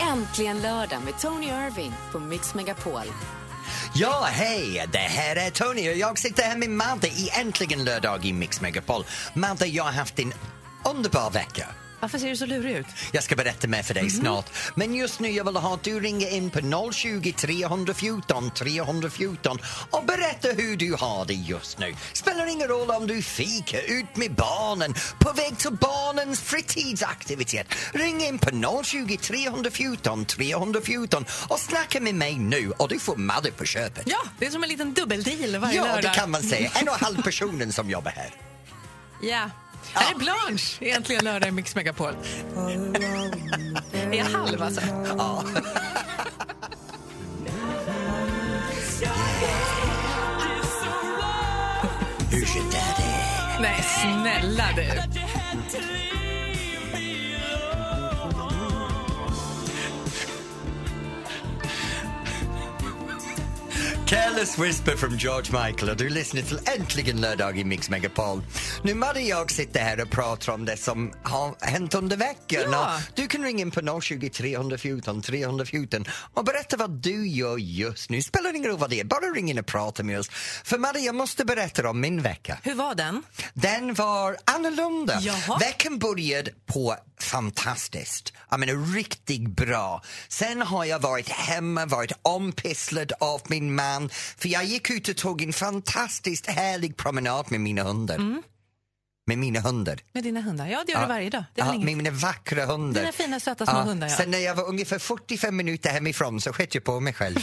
Äntligen lördag med Tony Irving på Mix Megapol. Ja, hej! Det här är Tony och jag sitter här med Madde i Äntligen lördag i Mix Megapol. Madde, jag har haft en underbar vecka. Varför ser du så lurig ut? Jag ska berätta mer för dig snart. Men just nu jag vill ha att du ringer in på 020 314 314 och berätta hur du har det just nu. Spelar ingen roll om du fikar, ut med barnen, på väg till barnens fritidsaktivitet. Ring in på 020 314 314 och snacka med mig nu och du får Madde på köpet. Ja, det är som en liten dubbeldeal varje Ja, lördag. det kan man säga. En och en halv personen som jobbar här. Ja. Här är Blanche, egentligen lördag i Mix Megapol. är jag halv alltså? Ursäkta det. Nej, snälla du. Careless Whisper from George Michael och du lyssnar till Äntligen lördag i Mix Megapol. Nu Madde och jag sitter här och pratar om det som har hänt under veckan. Ja. Och Du kan ringa in på 020 314 314 och berätta vad du gör just nu. Spelar ingen roll vad det är, bara ring in och prata med oss. För Madde, jag måste berätta om min vecka. Hur var den? Den var annorlunda. Jaha. Veckan började på fantastiskt. Jag menar riktigt bra. Sen har jag varit hemma, varit ompysslad av min man. För jag gick ut och tog en fantastiskt härlig promenad med mina hundar. Mm. Med mina hundar. Med dina hundar? Ja, det gör du varje dag. Det är Ja, väl med inget. mina vackra hundar. Dina fina, söta små hundar, ja. Sen när jag var ungefär 45 minuter hemifrån så sket jag på mig själv.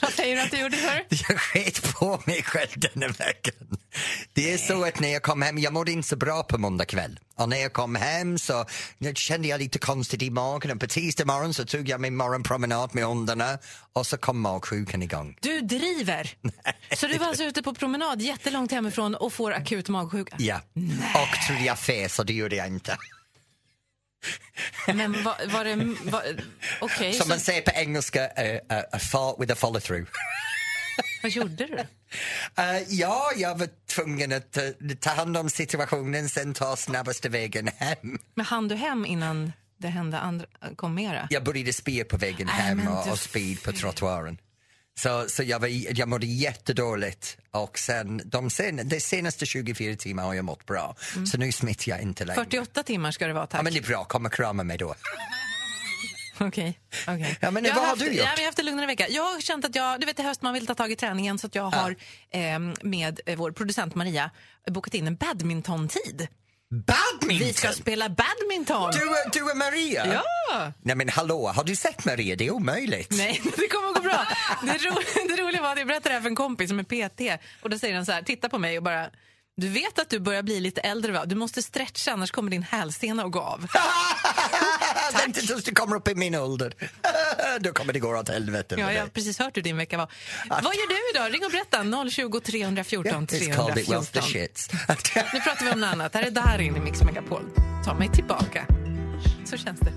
Vad säger du att du gjorde för? Jag sket på mig själv denna veckan. Det är så att när jag kom hem, jag mådde inte så bra på måndag kväll. Och när jag kom hem så kände jag lite konstigt i magen och på tisdag morgon så tog jag min morgonpromenad med hundarna och så kom magsjukan igång. Du driver! Så du var alltså ute på promenad jättelångt hemifrån och får akut magsjuka? Ja. Och trodde jag fes och det gjorde jag inte. Men var, var det... Var, Okej, Som man så säger på engelska, a, a, a fart with a follow through. vad gjorde du? Eh, ja, jag var tvungen att eh, ta hand om situationen sen ta snabbaste vägen hem. Men hann du hem innan det hände andra, kom mera? jag började spy på vägen Nej, hem men och, du och spy på trottoaren. Så, så jag, var, jag mådde jättedåligt och sen, de, sen, de senaste 24 timmarna har jag mått bra. Mm. Så nu smittar jag inte längre. 48 timmar ska det vara, tack. Ja, men det är bra, kom och krama mig då. Okej. okej. Ja, men Jag vad har haft, du gjort? Jag har haft en lugnare vecka. Jag har känt att jag, du vet i höst man vill ta tag i träningen så att jag har ehm, med eh, vår producent Maria bokat in en badmintontid. Badminton! Vi ska spela badminton! Du, är- du är Maria? Ja! Nej men hallå, har du sett Maria? Det är omöjligt. Nej, det kommer att gå bra. Det, ro, det roliga var att jag berättade det här för en kompis som är PT och då säger han så här, titta på mig och bara du vet att du börjar bli lite äldre va? Du måste stretcha annars kommer din hälsena att gå av. Vänta tills du kommer upp i min ålder. då kommer det gå åt helvete Ja, med jag dig. har precis hört hur din vecka var. Vad gör du idag? Ring och berätta. 020 314 It's called it was the 314. shits. Nu pratar vi om något annat. Här är Darin i Mix Megapol. Ta mig tillbaka. Så känns det.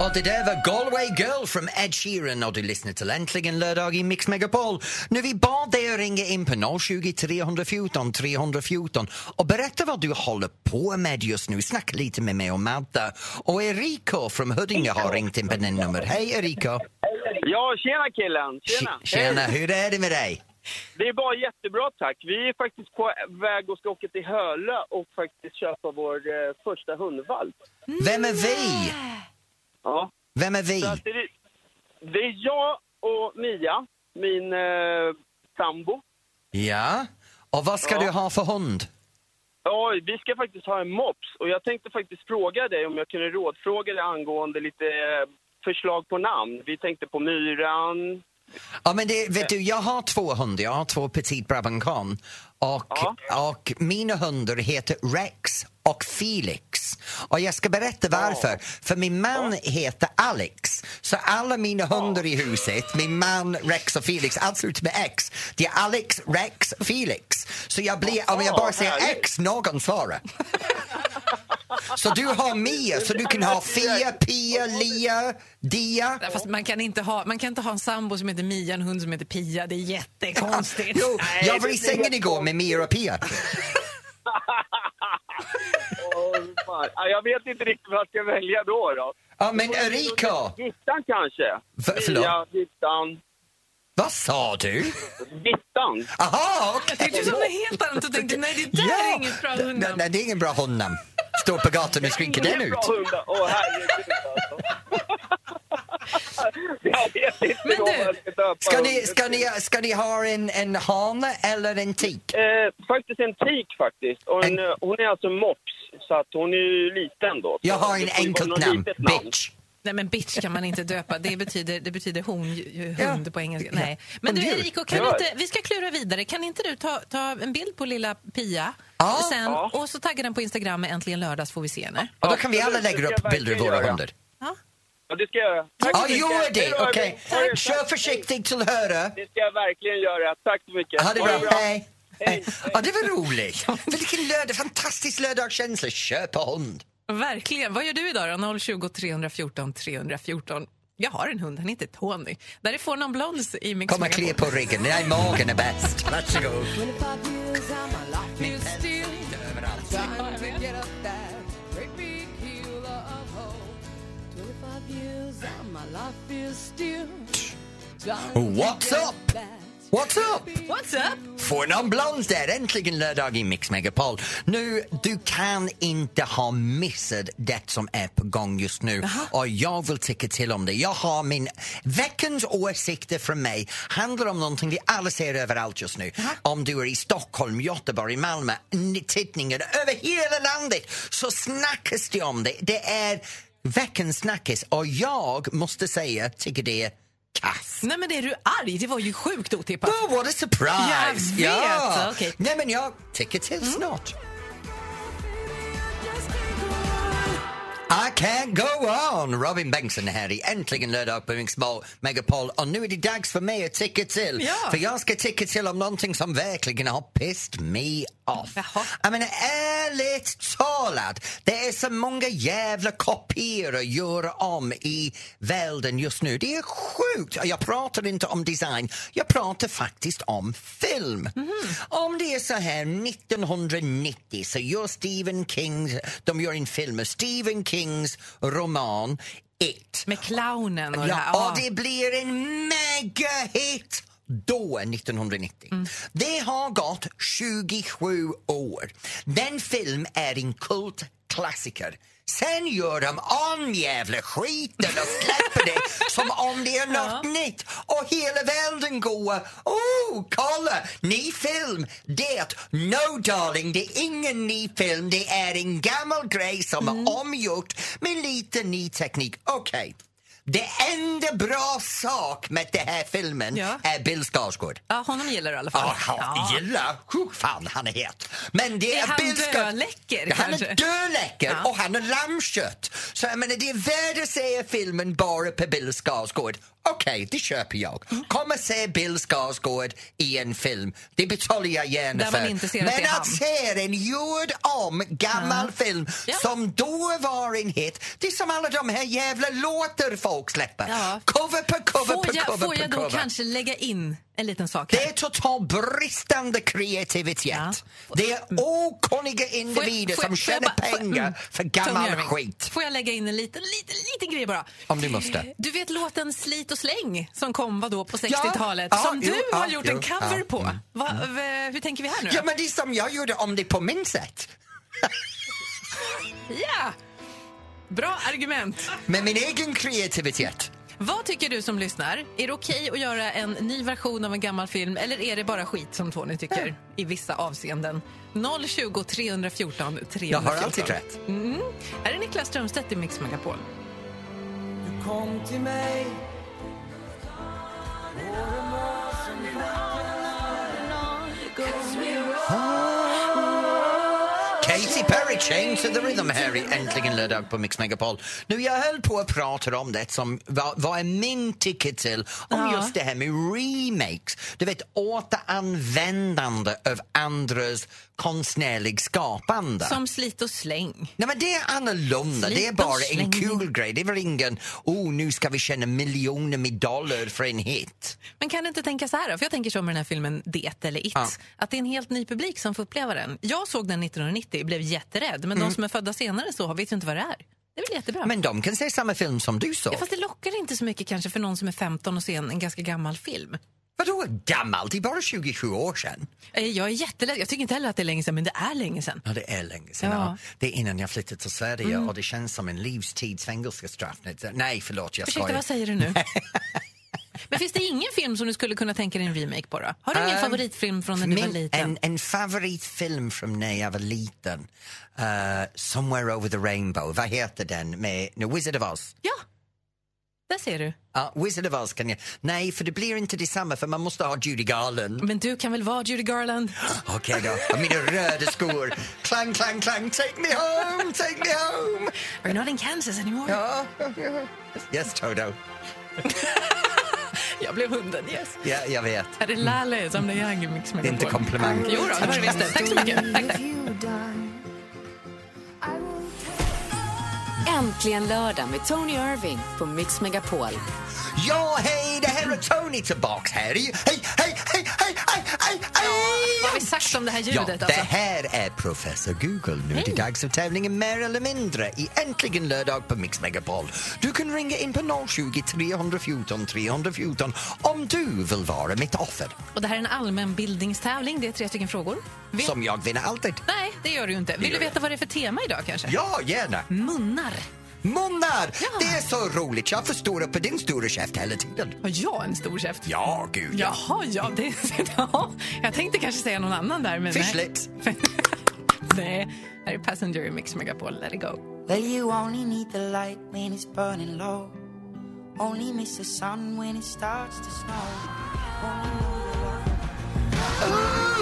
Och det där var Galway Girl från Ed Sheeran och du lyssnar till Äntligen lördag i Mix Megapol. Nu vi bad dig att ringa in på 020 314 314 och berätta vad du håller på med just nu. Snacka lite med mig och Madde. Och Eriko från Huddinge har ringt in på den nummer. Hej Eriko! Ja, tjena killen! Tjena! Tj- Tjena, hur är det med dig? Det är bara jättebra tack. Vi är faktiskt på väg och ska åka till Hölö och faktiskt köpa vår eh, första hundvalp. Vem är vi? Ja. Vem är vi? Mm. Så att det, är- det är jag och Mia, min eh, sambo. Ja? Och vad ska Ja. du ha för hund? Oj, vi ska faktiskt ha en mops och jag tänkte faktiskt fråga dig om jag kunde rådfråga dig angående lite eh, förslag på namn. Vi tänkte på Myran. Ja, men det, vet du, jag har två hundar. Jag har två petit brabancan. Och, och mina hundar heter Rex och Felix. Och jag ska berätta varför. För min man heter Alex. Så alla mina hundar i huset, min man Rex och Felix, allt slutar med X. Det är Alex, Rex, Felix. Så jag blir, om jag bara säger härligt. X, någon svarar. så du har Mia, så du kan ha Fia, Pia, Lia, Dia. Fast man kan, inte ha, man kan inte ha en sambo som heter Mia, en hund som heter Pia. Det är jättekonstigt. Jo, jag var det i blir sängen helt igår med Mia och Pia. Och Fan, ja, Jag vet inte riktigt vad jag ska välja då. då. Ja, men Erika! Vittan kanske? Va- förlåt? Mia, Vittan. Vad sa du? Vittan? Aha, okej! Det är som något helt annat och tänkte nej det där är inget bra Nej, hundnamn. nej, det är ingen bra hundnamn. Står på gatan och skriker den Ingen ut. bra hund. Åh, herregud alltså. Jag vet inte Men vad du, jag ska döpa Ska ni, hunden ska till. ni, ska ni ha en, en hane eller en tik? Eh, faktiskt en tik faktiskt. Och en, En- eh, Hon är alltså mops, så att hon är ju liten då. Jag Så har det en får ju vara enkelt något namn. litet Bitch. Nej men bitch kan man inte döpa. Det betyder, det betyder hon, ju- ju- Ja. hund på engelska. Nej. Men du Hon djur. Eriko, kan Ja. inte, vi ska klura vidare. Kan inte du ta, ta en bild på lilla Pia Ja. sen, Ja. och så tagga den på Instagram med Äntligen lördags får vi se henne. Och då kan vi alla lägga Det ska upp jag bilder av våra verkligen hundar. Ja. Ja, det ska jag göra. Tack Ja, så mycket. gör Hej det. då, Okej. hörni. Ha det Kör tack. försiktigt till höra. Det ska jag verkligen göra. Tack så mycket. Ha det Ha bra. Hej. Hej. Ja, det var roligt. Vilken lördag, fantastisk lördagskänsla. Köpa hund. Verkligen. Vad gör du idag då? 020 314 314. Jag har en hund, han heter Tony. Där är Four Non Blondes i Mix Kom och klia Megapol. på ryggen. Nej, magen är bäst. Varsågod. Överallt. What's up? What's up? What's up? Får någon blond där, äntligen lördag i Mix Megapol. Nu, du kan inte ha missat det som är på gång just nu och jag vill tycka till om det. Jag har min veckans åsikter från mig handlar om någonting vi alla ser överallt just nu. Om du är i Stockholm, Göteborg, Malmö, n- tidningar över hela landet så snackas det om det. Det är veckans snackis och jag måste säga, tycker det är kass. Nej men är du arg? Det var ju sjukt otippat. Oh, what a surprise! Jag vet, okej. Mm. Nej, men jag tycker till snart. I can't go on! Robin Bengtsson här i Äntligen lördag på Mix Mo- Megapol och nu är det dags för mig att tycka till. Ja. För jag ska tycka till om någonting som verkligen har pissed me off. Jaha. Jag menar ärligt talat, det är så många jävla kopior att göra om i världen just nu. Det är sjukt! Jag pratar inte om design, jag pratar faktiskt om film. Om det är så här 1990 så gör Stephen King, de gör en film med Stephen Kings roman It. Med clownen och det Ja, här. och det blir en megahit då, 1990. Det har gått 27 år. Den film är en kultklassiker. Sen gör de om jävla skiten och släpper det som om det är något nytt. Och hela världen går oh, kolla, ny film. Det, no darling, det är ingen ny film. Det är en gammal grej som är omgjort med lite ny teknik. Okej. Det enda bra sak med den här filmen Ja. är Bill Skarsgård. Ja, honom gillar du i alla fall. Ja, han Ja. gillar... Hur fan han är het. Men det Är är, han Bill Skarsgård. dödläcker, Ja, Han kanske? är dödläcker Ja. och han är lammkött. Så jag menar, det är värd att se filmen bara på Bill Skarsgård. Okej, det köper jag. Kom och se Bill Skarsgård i en film. Det betalar jag gärna Där för. man inte ser att Men det är han. att se en gjord om gammal film Ja. som då var en hit. Det är som alla de här jävla låter folk släpper. Ja. Cover på cover Får på jag, cover får på jag då cover. kanske lägga in en liten sak Det här? är total bristande kreativitet. Ja. Mm. Det är okunniga individer som Får jag- får jag- får jag tjänar bara- får- pengar mm. för gammal Tungöring. skit. Får jag lägga in en liten, liten, liten grej bara? Om du måste. Du vet låten Slit och släng som kom vadå, på 60-talet Ja, som jo, du ja, har gjort jo, en cover ja, på. mm, Va, v- hur tänker vi här nu Ja, då? men det är som jag gjorde om det på min sätt. Ja! Bra argument. Med min egen kreativitet. Vad tycker du som lyssnar? Är det okej att göra en ny version av en gammal film eller är det bara skit som Tony tycker i vissa avseenden? 020 314 314. Jag har alltid rätt. Här är Niklas Strömstedt i Mix Megapol. Katy Perry, Change to the Rhythm här i Äntligen lördag på Mix Megapol. Nu, jag höll på att prata om det som vad, vad är min tycke till om Ja. just det här med remakes. Du vet, återanvändande av andras konstnärlig skapande. Som slit och släng. Nej men det är annorlunda, Slit det är och bara en släng. kul grej. Det är väl ingen, oh nu ska vi tjäna miljoner med dollar för en hit. Men kan du inte tänka så här då? För jag tänker så med den här filmen Det eller It. Ja. Att det är en helt ny publik som får uppleva den. Jag såg den 1990 och blev jätterädd. Men de som är födda senare så vet ju inte vad det är. Det är väl jättebra. Mm. Men de kan se samma film som du såg. Ja, fast det lockar inte så mycket kanske för någon som är 15 och ser en, en ganska gammal film. Vadå gammalt? Det är bara 27 år sedan. Eh, Jag är jätteledsen. Jag tycker inte heller att det är länge sedan, men det är länge sedan. Ja, det är länge sedan. Ja. Mm. Ja. Det är innan jag flyttade till Sverige och det känns som en livstids fängelsestraff. Nej, förlåt, jag Ursäkta, skojar. vad säger du nu? Men finns det ingen film som du skulle kunna tänka dig en remake på då? Har du ingen Ehm, favoritfilm från när du var Min, liten? en, en favoritfilm från när jag var liten, eh, Somewhere over the rainbow, vad heter den med no, Wizard of Oz? Ja, där ser du. Ja, Wizard of Oz kan jag... Nej, för det blir inte detsamma för man måste ha Judy Garland. Men du kan väl vara Judy Garland? Okej då, och mina röda skor. Klang, klang, klang, take me home, take me home. We're not in Kansas anymore. Ja, ja. Yes, Toto. Jag blev hunden, yes. Ja, jag vet. Här är Laleh som det är Young Mix Det är inte komplimang. Jo då, det var det visst det. Tack så mycket. Tack, tack. Äntligen lördag med Tony Irving på Mix Megapol. Ja, hej, det här är Tony tillbaks här. Hej, hej, hej, hej, hej, hej, hej. Vad har vi sagt om det här Ja, ljudet det alltså? här är professor Google. Nu är det dags för tävlingen Mer eller mindre i Äntligen lördag på Mix Megapol. Du kan ringa in på 020 314 314 om du vill vara mitt offer. Och det här är en allmänbildningstävling. Det är tre stycken frågor. Vet... Som jag vinner alltid. Nej, det gör du ju inte. Vill du gör jag. veta vad det är för tema idag kanske? Ja, gärna. Munnar. Munnar! Ja. Det är så roligt. Jag förstår upp på din stora käft hela tiden. Har jag en stor käft? Ja, gud ja. Jaha, ja, det, ja. Jag tänkte kanske säga någon annan där. Men Fish nej. lips. nej, här är Passenger i Mix Megapol. Let it go. Well, you only need the light when it's burning low. Only miss the sun when it starts to snow. Only know the light.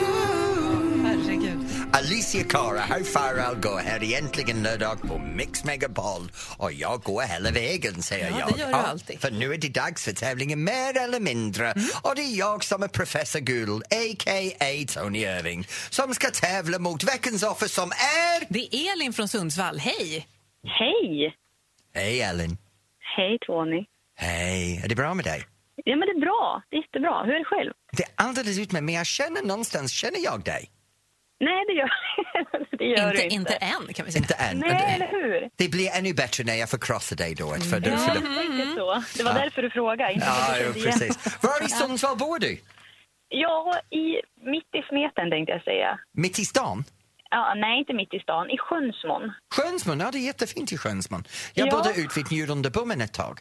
Herregud. Alicia Cara, How far I'll go här i Äntligen lördag på Mix Megapol. Och jag går hela vägen, säger Ja, jag. det gör du alltid. Mm. För nu är det dags för tävlingen Mer eller mindre. Och det är jag som är Professor Gould, a.k.a. Tony Irving, som ska tävla mot veckans offer som är... Det är Elin från Sundsvall. Hej! Hej! Hej, Ellen. Hej Tony. Hej. Är det bra med dig? Ja men det är bra, det är jättebra. Hur är det själv? Det är alldeles utmärkt, men jag känner någonstans, känner jag dig? Nej det gör, det gör inte, du inte. inte än, kan vi säga. Inte än. men det- Nej eller hur? Det blir ännu bättre när jag förkrossar dig då. För du, Ja, för jag du. tänkte så. Det var därför du frågade. Inte för Mm. Ja, att du jo, kände igen. precis. Var i Sundsvall bor du? Ja, i, mitt i smeten tänkte jag säga. Mitt i stan? Ja, nej, inte mitt i stan. I Sjönsmon. Skönsmon, ja det är jättefint i Skönsmon. Jag Ja. bodde ut vid Njurundebommen ett tag.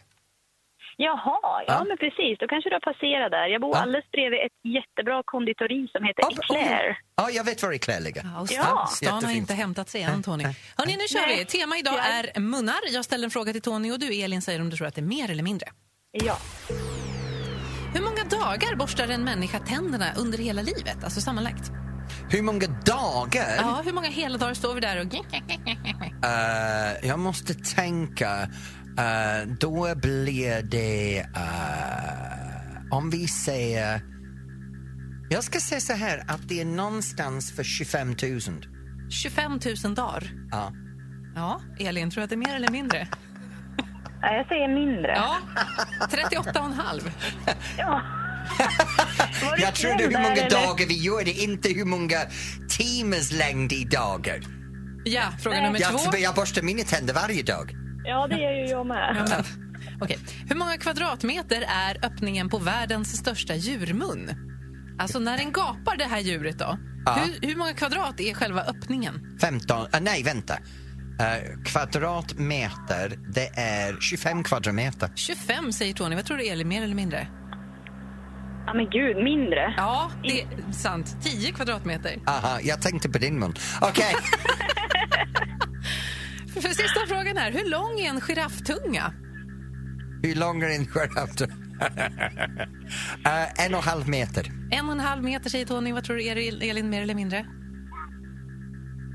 Jaha, ja, Ja. men precis. Då kanske du har passerat där. Jag bor Ja. alldeles bredvid ett jättebra konditori som heter Ja, Eclair. Ja, jag vet var Eclair ligger. Ja, och stan, Ja. stan har Jättefint. inte hämtat sig än, Tony. Hörrni, nu kör Nej. vi. Tema idag Ja. är munnar. Jag ställer en fråga till Tony och du, Elin, säger om du tror att det är mer eller mindre. Ja. Hur många dagar borstar en människa tänderna under hela livet? Alltså sammanlagt. Hur många dagar? Ja, hur många hela dagar står vi där och... Eh, jag måste tänka. eh, då blir det... eh, om vi säger... Jag ska säga så här att det är någonstans för 25 000. 25 000 dagar. Ja. Ja, Elin, tror du att det är mer eller mindre? Ja, Jag säger mindre. Ja, 38 och en halv. Ja. Var du Jag trodde snäll hur där, många eller? dagar vi gjorde, inte hur många timmars längd i dagar. Ja, fråga Nej. nummer två. Jag, jag borstar mina tänder varje dag. Ja, det gör ju jag med. Okej. Hur många kvadratmeter är öppningen på världens största djurmun? Alltså när den gapar det här djuret då, Ja. hur, hur många kvadrat är själva öppningen? 15, ah, nej vänta. Eh, kvadratmeter, det är 25 kvadratmeter. 25 säger Tony, vad tror du Elin, mer eller mindre? Ja, men gud, mindre. Ja, det är sant. 10 kvadratmeter. Aha, jag tänkte på din mun. Okej, För, för sista frågan här, hur lång är en girafftunga? hur lång är en giraff? Eh, en och en halv meter. En och en halv meter säger Tony, vad tror du El- Elin, mer eller mindre?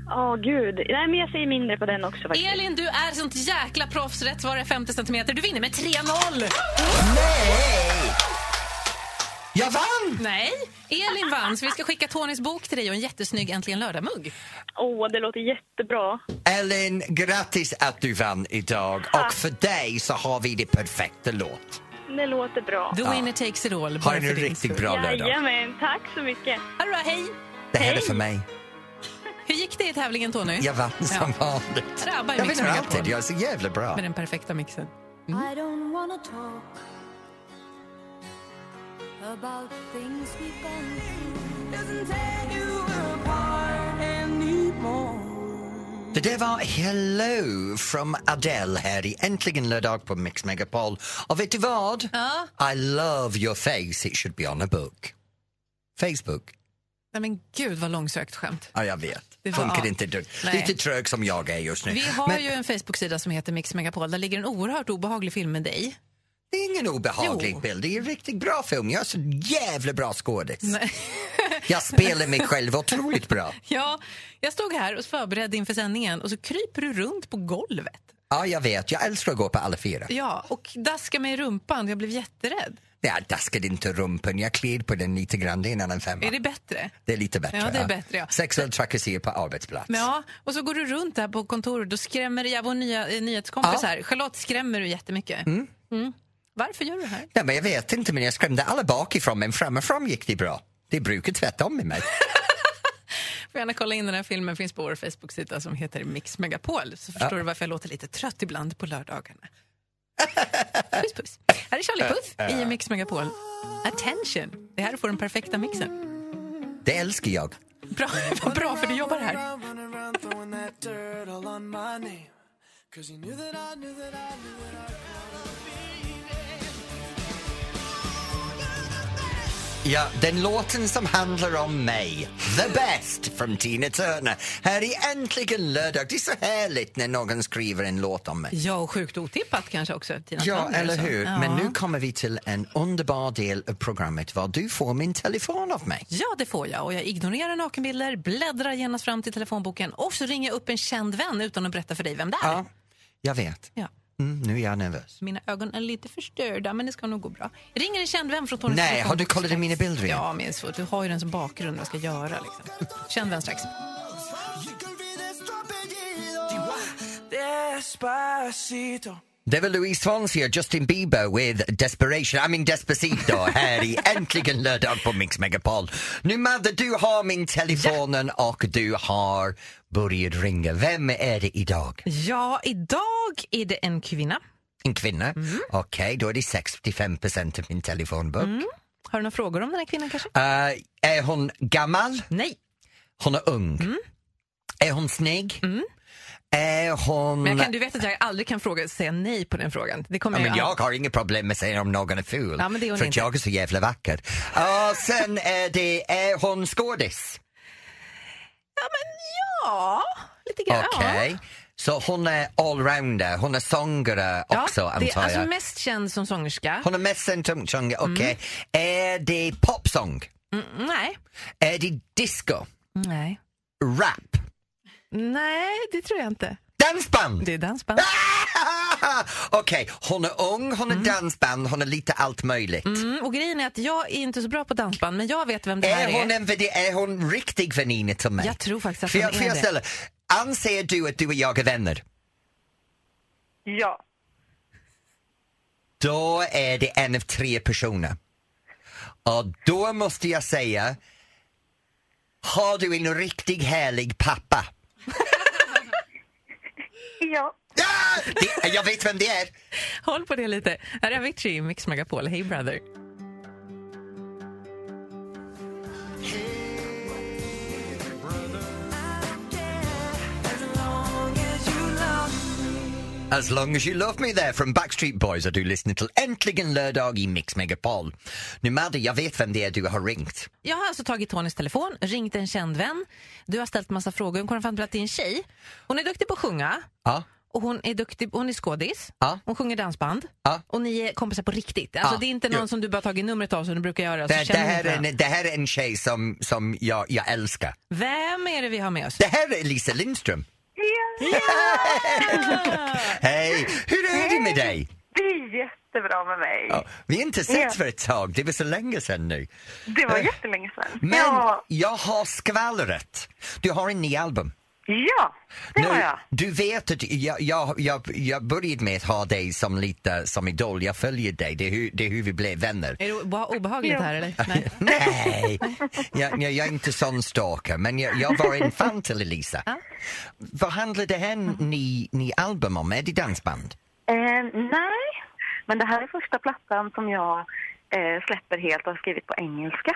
Ja, gud. Nej, men jag säger mindre på den också faktiskt. Elin, du är sånt jäkla proffs. Rätt svar är 50 centimeter. Du vinner med 3-0! Nej! Jag vann! Nej, Elin vann så vi ska skicka Tonys bok till dig och en jättesnygg Äntligen lördag-mugg. Åh, det låter jättebra. Ellen, grattis att du vann idag. Och för dig så har vi det perfekta låt. Det låter bra. The winner takes it all. Ha bara en för din riktigt skull. bra lördag. Jajamän, tack så mycket. Ha det bra, hej! Det här är för mig. Hur gick det i tävlingen, Tony? Jag vann som vanligt. Rabba i Jag Mix vinner Megapol. alltid. Jag är så jävla bra. Med den perfekta mixen. I don't wanna talk about things we've been through. Doesn't tear you apart anymore. Det där var Hello from Adele här i Äntligen lördag på Mix Megapol. Och vet du vad? Ja. I love your face, it should be on a book. Facebook? Nej, men gud vad långsökt skämt. Ja, jag vet. Det var- Funkar inte dugg. Nej. Lite trög som jag är just nu. Vi har Men ju en Facebook-sida som heter Mix Megapol. Där ligger en oerhört obehaglig film med dig. det är ingen obehaglig Jo. bild. Det är en riktigt bra film. Jag är så jävla bra skådis. Nej. Jag spelar mig själv otroligt bra. Ja, jag stod här och förberedde inför sändningen och så kryper du runt på golvet. Ja, jag vet. Jag älskar att gå på alla fyra. Ja, och daskar mig i rumpan. Jag blev jätterädd. Nej, jag daskade inte rumpen. Jag kled på den lite grann. Det är en annan femma. Är det bättre? Det är lite bättre. Ja, det är bättre, ja. Sexuell trakasserier på arbetsplats. Men ja, och så går du runt där på kontoret och skrämmer, jag vår nya eh, nyhetskompis Ja. här, Charlotte skrämmer du jättemycket. Mm. Varför gör du det här? Nej, men jag vet inte, men jag skrämde alla bakifrån, men framifrån gick det bra. Det brukar tvärtom med mig. Får gärna kolla in den här filmen, finns på vår Facebook-sida som heter Mix Megapol. Så förstår du varför jag låter lite trött ibland på lördagarna. Puss puss. Här är Charlie Puth i Mix Megapol. Attention! Det här får den perfekta mixen. Det älskar jag. Bra, vad bra för du jobbar här. Ja, den låten som handlar om mig, The Best, från Tina Turner. Här i Äntligen lördag. Det är så härligt när någon skriver en låt om mig. Ja, och sjukt otippat kanske också. Tina Ja, Turner och eller så. hur? Ja. Men nu kommer vi till en underbar del av programmet var du får min telefon av mig. Ja, det får jag. Och jag ignorerar nakenbilder, bläddrar genast fram till telefonboken och så ringer jag upp en känd vän utan att berätta för dig vem det är. Ja, jag vet. Ja. Mm, nu är jag nervös. Mina ögon är lite förstörda, men det ska nog gå bra. Ringer en känd vän från Tony Nej, har du kollat i mina bilder igen? Ja, men det är svårt. Du har ju den som bakgrund vad jag ska göra. Liksom. Känd vän strax. Det var Louise Fonsi och Justin Bieber with Desperation, I mean Despacito här i Äntligen lördag på Mix Megapol. Nu Madde, du har min telefonen och du har börjat ringa. Vem är det idag? Ja, idag är det en kvinna. En kvinna? Mm. Okej, då är det 65 procent av min telefonbok. Mm. Har du några frågor om den här kvinnan kanske? Eh, är hon gammal? Nej, Hon är ung. Mm. Är hon snygg? Är hon... men jag kan, du vet att jag aldrig kan fråga, säga nej på den frågan. Det kommer Ja, men jag, jag har inga problem med att säga om någon är ful. Ja, men det är hon för att inte. jag är så jävla vacker. Och sen är det, är hon skådis? Ja, lite grann. Okej. Så hon är allrounder, hon är sångare Ja. också Ja, det är antar alltså Mm. jag. mest känd som sångerska. Hon är mest centrumsångare, okej. Är det popsång? Mm, nej. Är det disco? nej. Rap? Nej, det tror jag inte. Dansband? Det är dansband. Ah! Okej, hon är ung, hon är dansband, hon är lite allt möjligt. Mm, och grejen är att jag är inte så bra på dansband, men jag vet vem det här Är är. hon, en, värdi- är hon riktig väninna till mig? Jag tror faktiskt att Får jag, hon får är jag det. ställa, anser du att du och jag är vänner? Ja. Då är det en av tre personer. Och då måste jag säga, har du en riktigt härlig pappa? Ja. Ah! Det, jag vet vem det är. Håll på det lite. Här är Avicii i Mix Megapol. Hey brother. As long as you love me there från Backstreet Boys och du lyssnar till Äntligen lördag i Mix Megapol. Nu Madde, jag vet vem det är du har ringt. Jag har alltså tagit Tonys telefon, ringt en känd vän. Du har ställt massa frågor. Hon kommer fram till att det är en tjej. Hon är duktig på att sjunga. Ja, Och hon är duktig, hon är skådis. Ja. Hon sjunger dansband. Ja. Och ni är kompisar på riktigt. Alltså, Ja, Det är inte någon ju. som du bara tagit numret av som du brukar göra. Så det, det, Alltså, känner här inte är varandra. en, det här är en tjej som, som jag, jag älskar. Vem är det vi har med oss? Det här är Lisa Lindström. Hej! Hur är det med dig? Det är jättebra med mig. Ja, vi har inte sett för ett tag, det var så länge sedan nu. Det var Eh, jättelänge sedan. Men Ja, jag har skvallret. Du har en ny album. ja det har Nu, jag. Du vet att jag, jag, jag, jag började med att ha dig som lite som idol. Jag följer dig, det är hur, det är hur vi blev vänner. Är det obe- obehagligt här eller? Nej. Nej, jag, jag, jag är inte sån stalker, men jag, jag var en fan till Elisa. Vad handlar det här ni, ni album om? Är det dansband? Eh, nej, men det här är första plattan som jag eh, släpper helt och har skrivit på engelska.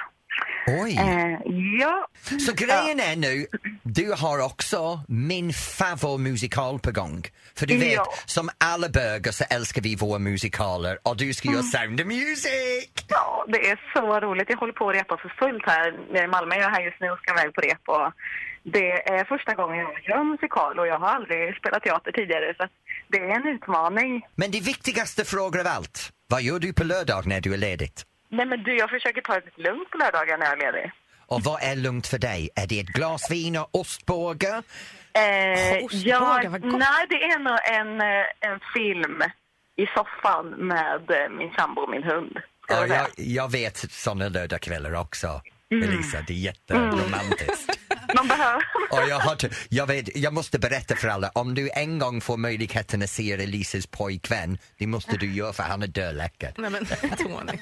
Oj! Eh, ja, Så grejen är nu, du har också min favoritmusikal på gång. För du vet, Ja. som alla bögar så älskar vi våra musikaler och du ska Mm. göra Sound of Music! ja, det är så roligt. Jag håller på att repa för fullt här nere i Malmö. Jag är här just nu och ska iväg på rep. Och det är första gången jag gör musikal och jag har aldrig spelat teater tidigare. Så att det är en utmaning. Men det viktigaste frågan av allt, vad gör du på lördag när du är ledigt? Nej, men du, jag försöker ta det lite lugnt på lördagar när jag är ledig. Och vad är lugnt för dig? Är det ett glas vin och ostbågar? Eh, ostbågar, ja, vad gott. nej, det är nog en, eh, en film i soffan med eh, min sambo och min hund. ska Ja, jag säga. jag, jag vet såna lördagskvällar också, Mm. Elisa. Det är jätteromantiskt. Man behöver... Och jag, har, jag, vet, jag måste berätta för alla, om du en gång får möjligheten att se Elisas pojkvän, det måste du göra för han är dödläcker. Nej, men Tony.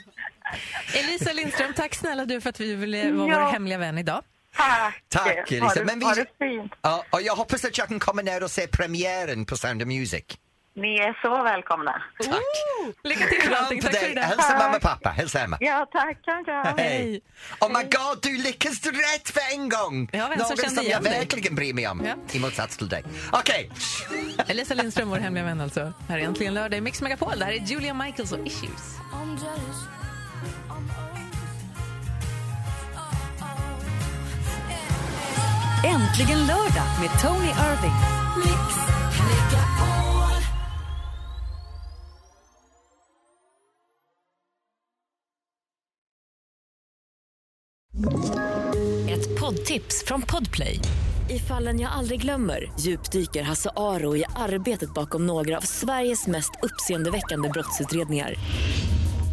Elisa Lindström, tack snälla du för att vi ville vara Ja. vår hemliga vän idag. Tack! Tack Ha Elisa! det, ha det fint. ja, och jag hoppas att jag kan komma ner och se premiären på Sound of Music. Ni är så välkomna. Tack! Lycka till med Kram allting. på Tack för dig! idag. Hälsa mamma och pappa, hälsa Emma. Ja, tack. Ja, ja. Hej! Oh my god, du lyckas rätt för en gång! Ja, vem som Någon kände som jag igen dig. verkligen bryr mig om, Ja. i motsats till dig. Okej, Elisa Lindström, vår hemliga vän alltså. Här är äntligen lördag i Mix Megapol. Det här är Julia Michaels och Issues. I'm jealous. I'm always. Oh, oh. Yeah. Äntligen lördag med Tony Irving. Mix Megapol. Ett poddtips från Podplay. I fallen jag aldrig glömmer djupdyker Hasse Aro i arbetet bakom några av Sveriges mest uppseendeväckande brottsutredningar.